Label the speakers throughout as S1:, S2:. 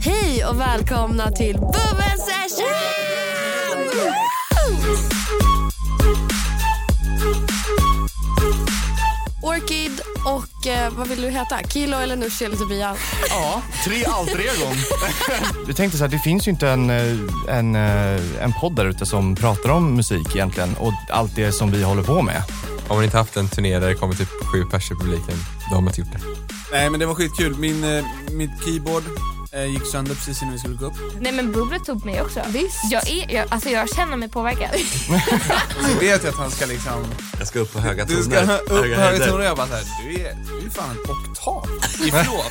S1: Hej och välkomna till Bubbel Session! Orchid och eh, vad vill du heta? Kilo eller Nooshi eller Tobias?
S2: Ja, tre alteregon. Jag tänkte så här, det finns ju inte en, eh, en, eh, en podd där ute som pratar om musik egentligen och allt det som vi håller på med.
S3: Har man inte haft en turné där det kommer typ sju pers i publiken, då har man inte gjort det.
S4: Nej men det var skitkul. Min, eh, mitt keyboard eh, gick sönder precis innan vi skulle gå upp.
S5: Nej men bubblet tog mig också.
S1: Visst.
S5: Jag, är, jag, alltså, jag känner mig påverkad.
S4: Så vet jag att han ska liksom...
S3: Jag ska upp på höga
S4: Du ska upp på höga toner och jag bara såhär, du är, du är fan en oktav ifrån.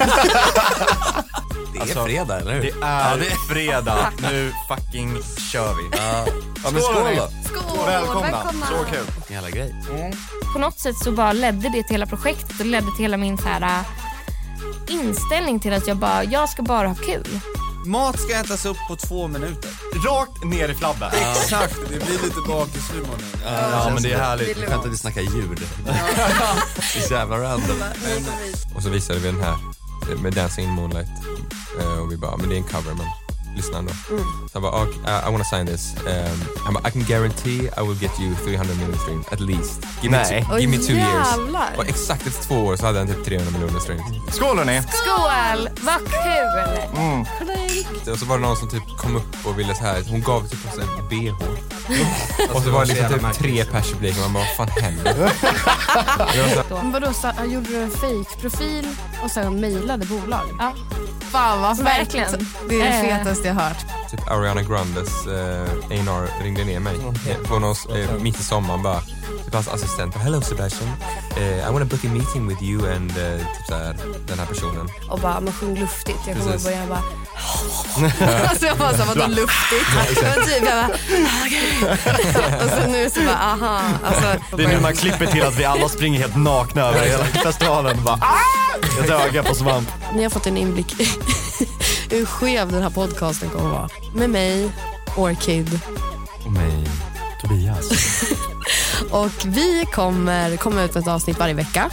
S3: Det är
S4: Alltså,
S3: fredag, eller hur?
S2: är fredag. Nu fucking kör vi.
S3: Ja, men skål då!
S1: Skål!
S2: Så kul.
S3: Jävla grej.
S5: På något sätt så bara ledde det till hela projektet och ledde till hela min så här, äh, inställning till att jag bara, jag ska bara ha kul.
S4: Mat ska ätas upp på två minuter.
S2: Rakt ner i flabben.
S4: Exakt, det blir lite bakishumor nu.
S2: Ja, men det är härligt.
S3: Skönt att vi snackar djur. Det är så jävla random. Och så visade vi den här eh, med Dancing in Moonlight. Eh, Och vi bara, men det är en cover, men lyssna ändå.
S4: Mm.
S3: Så han bara, okay, I- I wanna sign this. Um, han bara, I can guarantee I will get you 300 million streams, at least. Give me,
S2: Nej.
S3: two, give me two years.
S1: jävlar.
S3: Och exakt efter två år så hade han typ 300 miljoner streams.
S2: Skål hörni.
S5: Skål! Vad kul!
S3: Och så var det någon som typ kom upp och ville så här, hon gav typ oss en bh. och så var det liksom typ tre pers i publiken man bara, vad fan händer? Det var så här,
S6: Men vadå, så, ja, gjorde du en fake-profil och sen mejlade bolag?
S5: Ja,
S6: Fan vad
S5: verkligen.
S6: Det är det
S5: Eh.
S6: fetaste jag hört.
S3: typ Ariana Grandes eh, A&R ringde ner mig eh, på någon, eh, mitt i sommaren bara. Typ hans assistent bara, hello Sebastian. Eh, I wanna book a meeting with you and eh, typ så här, den här personen.
S1: Och bara, man sjöng luftigt. Jag kommer ihåg
S3: Precis.
S1: början jag bara... alltså jag bara, så här, vadå luftigt? Jag var typ, jag bara, ah, okej. Och sen nu så bara, aha. Alltså,
S2: Det är nu man klipper till att vi alla springer helt nakna över hela festivalen. Bara, "Ah!" Ett öga på svamp.
S1: Ni har fått en inblick i hur skev den här podcasten kommer att vara. Med mig, Orchid.
S2: Och mig, Tobias.
S1: Och vi kommer komma ut med ett avsnitt varje vecka.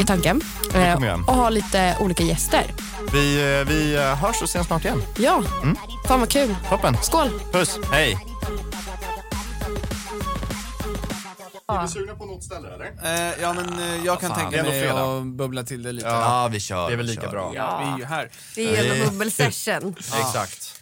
S1: I tanken.
S2: Mm. kommer vi
S1: Eh,
S2: göra.
S1: och ha lite olika gäster.
S2: Vi, eh, vi eh, hörs och ses snart igen.
S1: Ja,
S2: Mm.
S1: fan vad kul.
S2: Toppen.
S1: Skål!
S2: Puss. Hej.
S4: Eh, ja men eh, jag kan
S2: Det är
S4: tänka
S2: ändå
S4: mig
S2: fredag.
S4: att bubbla till det lite.
S2: Ja,
S7: vi kör.
S2: det är väl lika bra.
S4: Vi är ju här.
S1: Det är en bubbelsession.
S7: Exakt.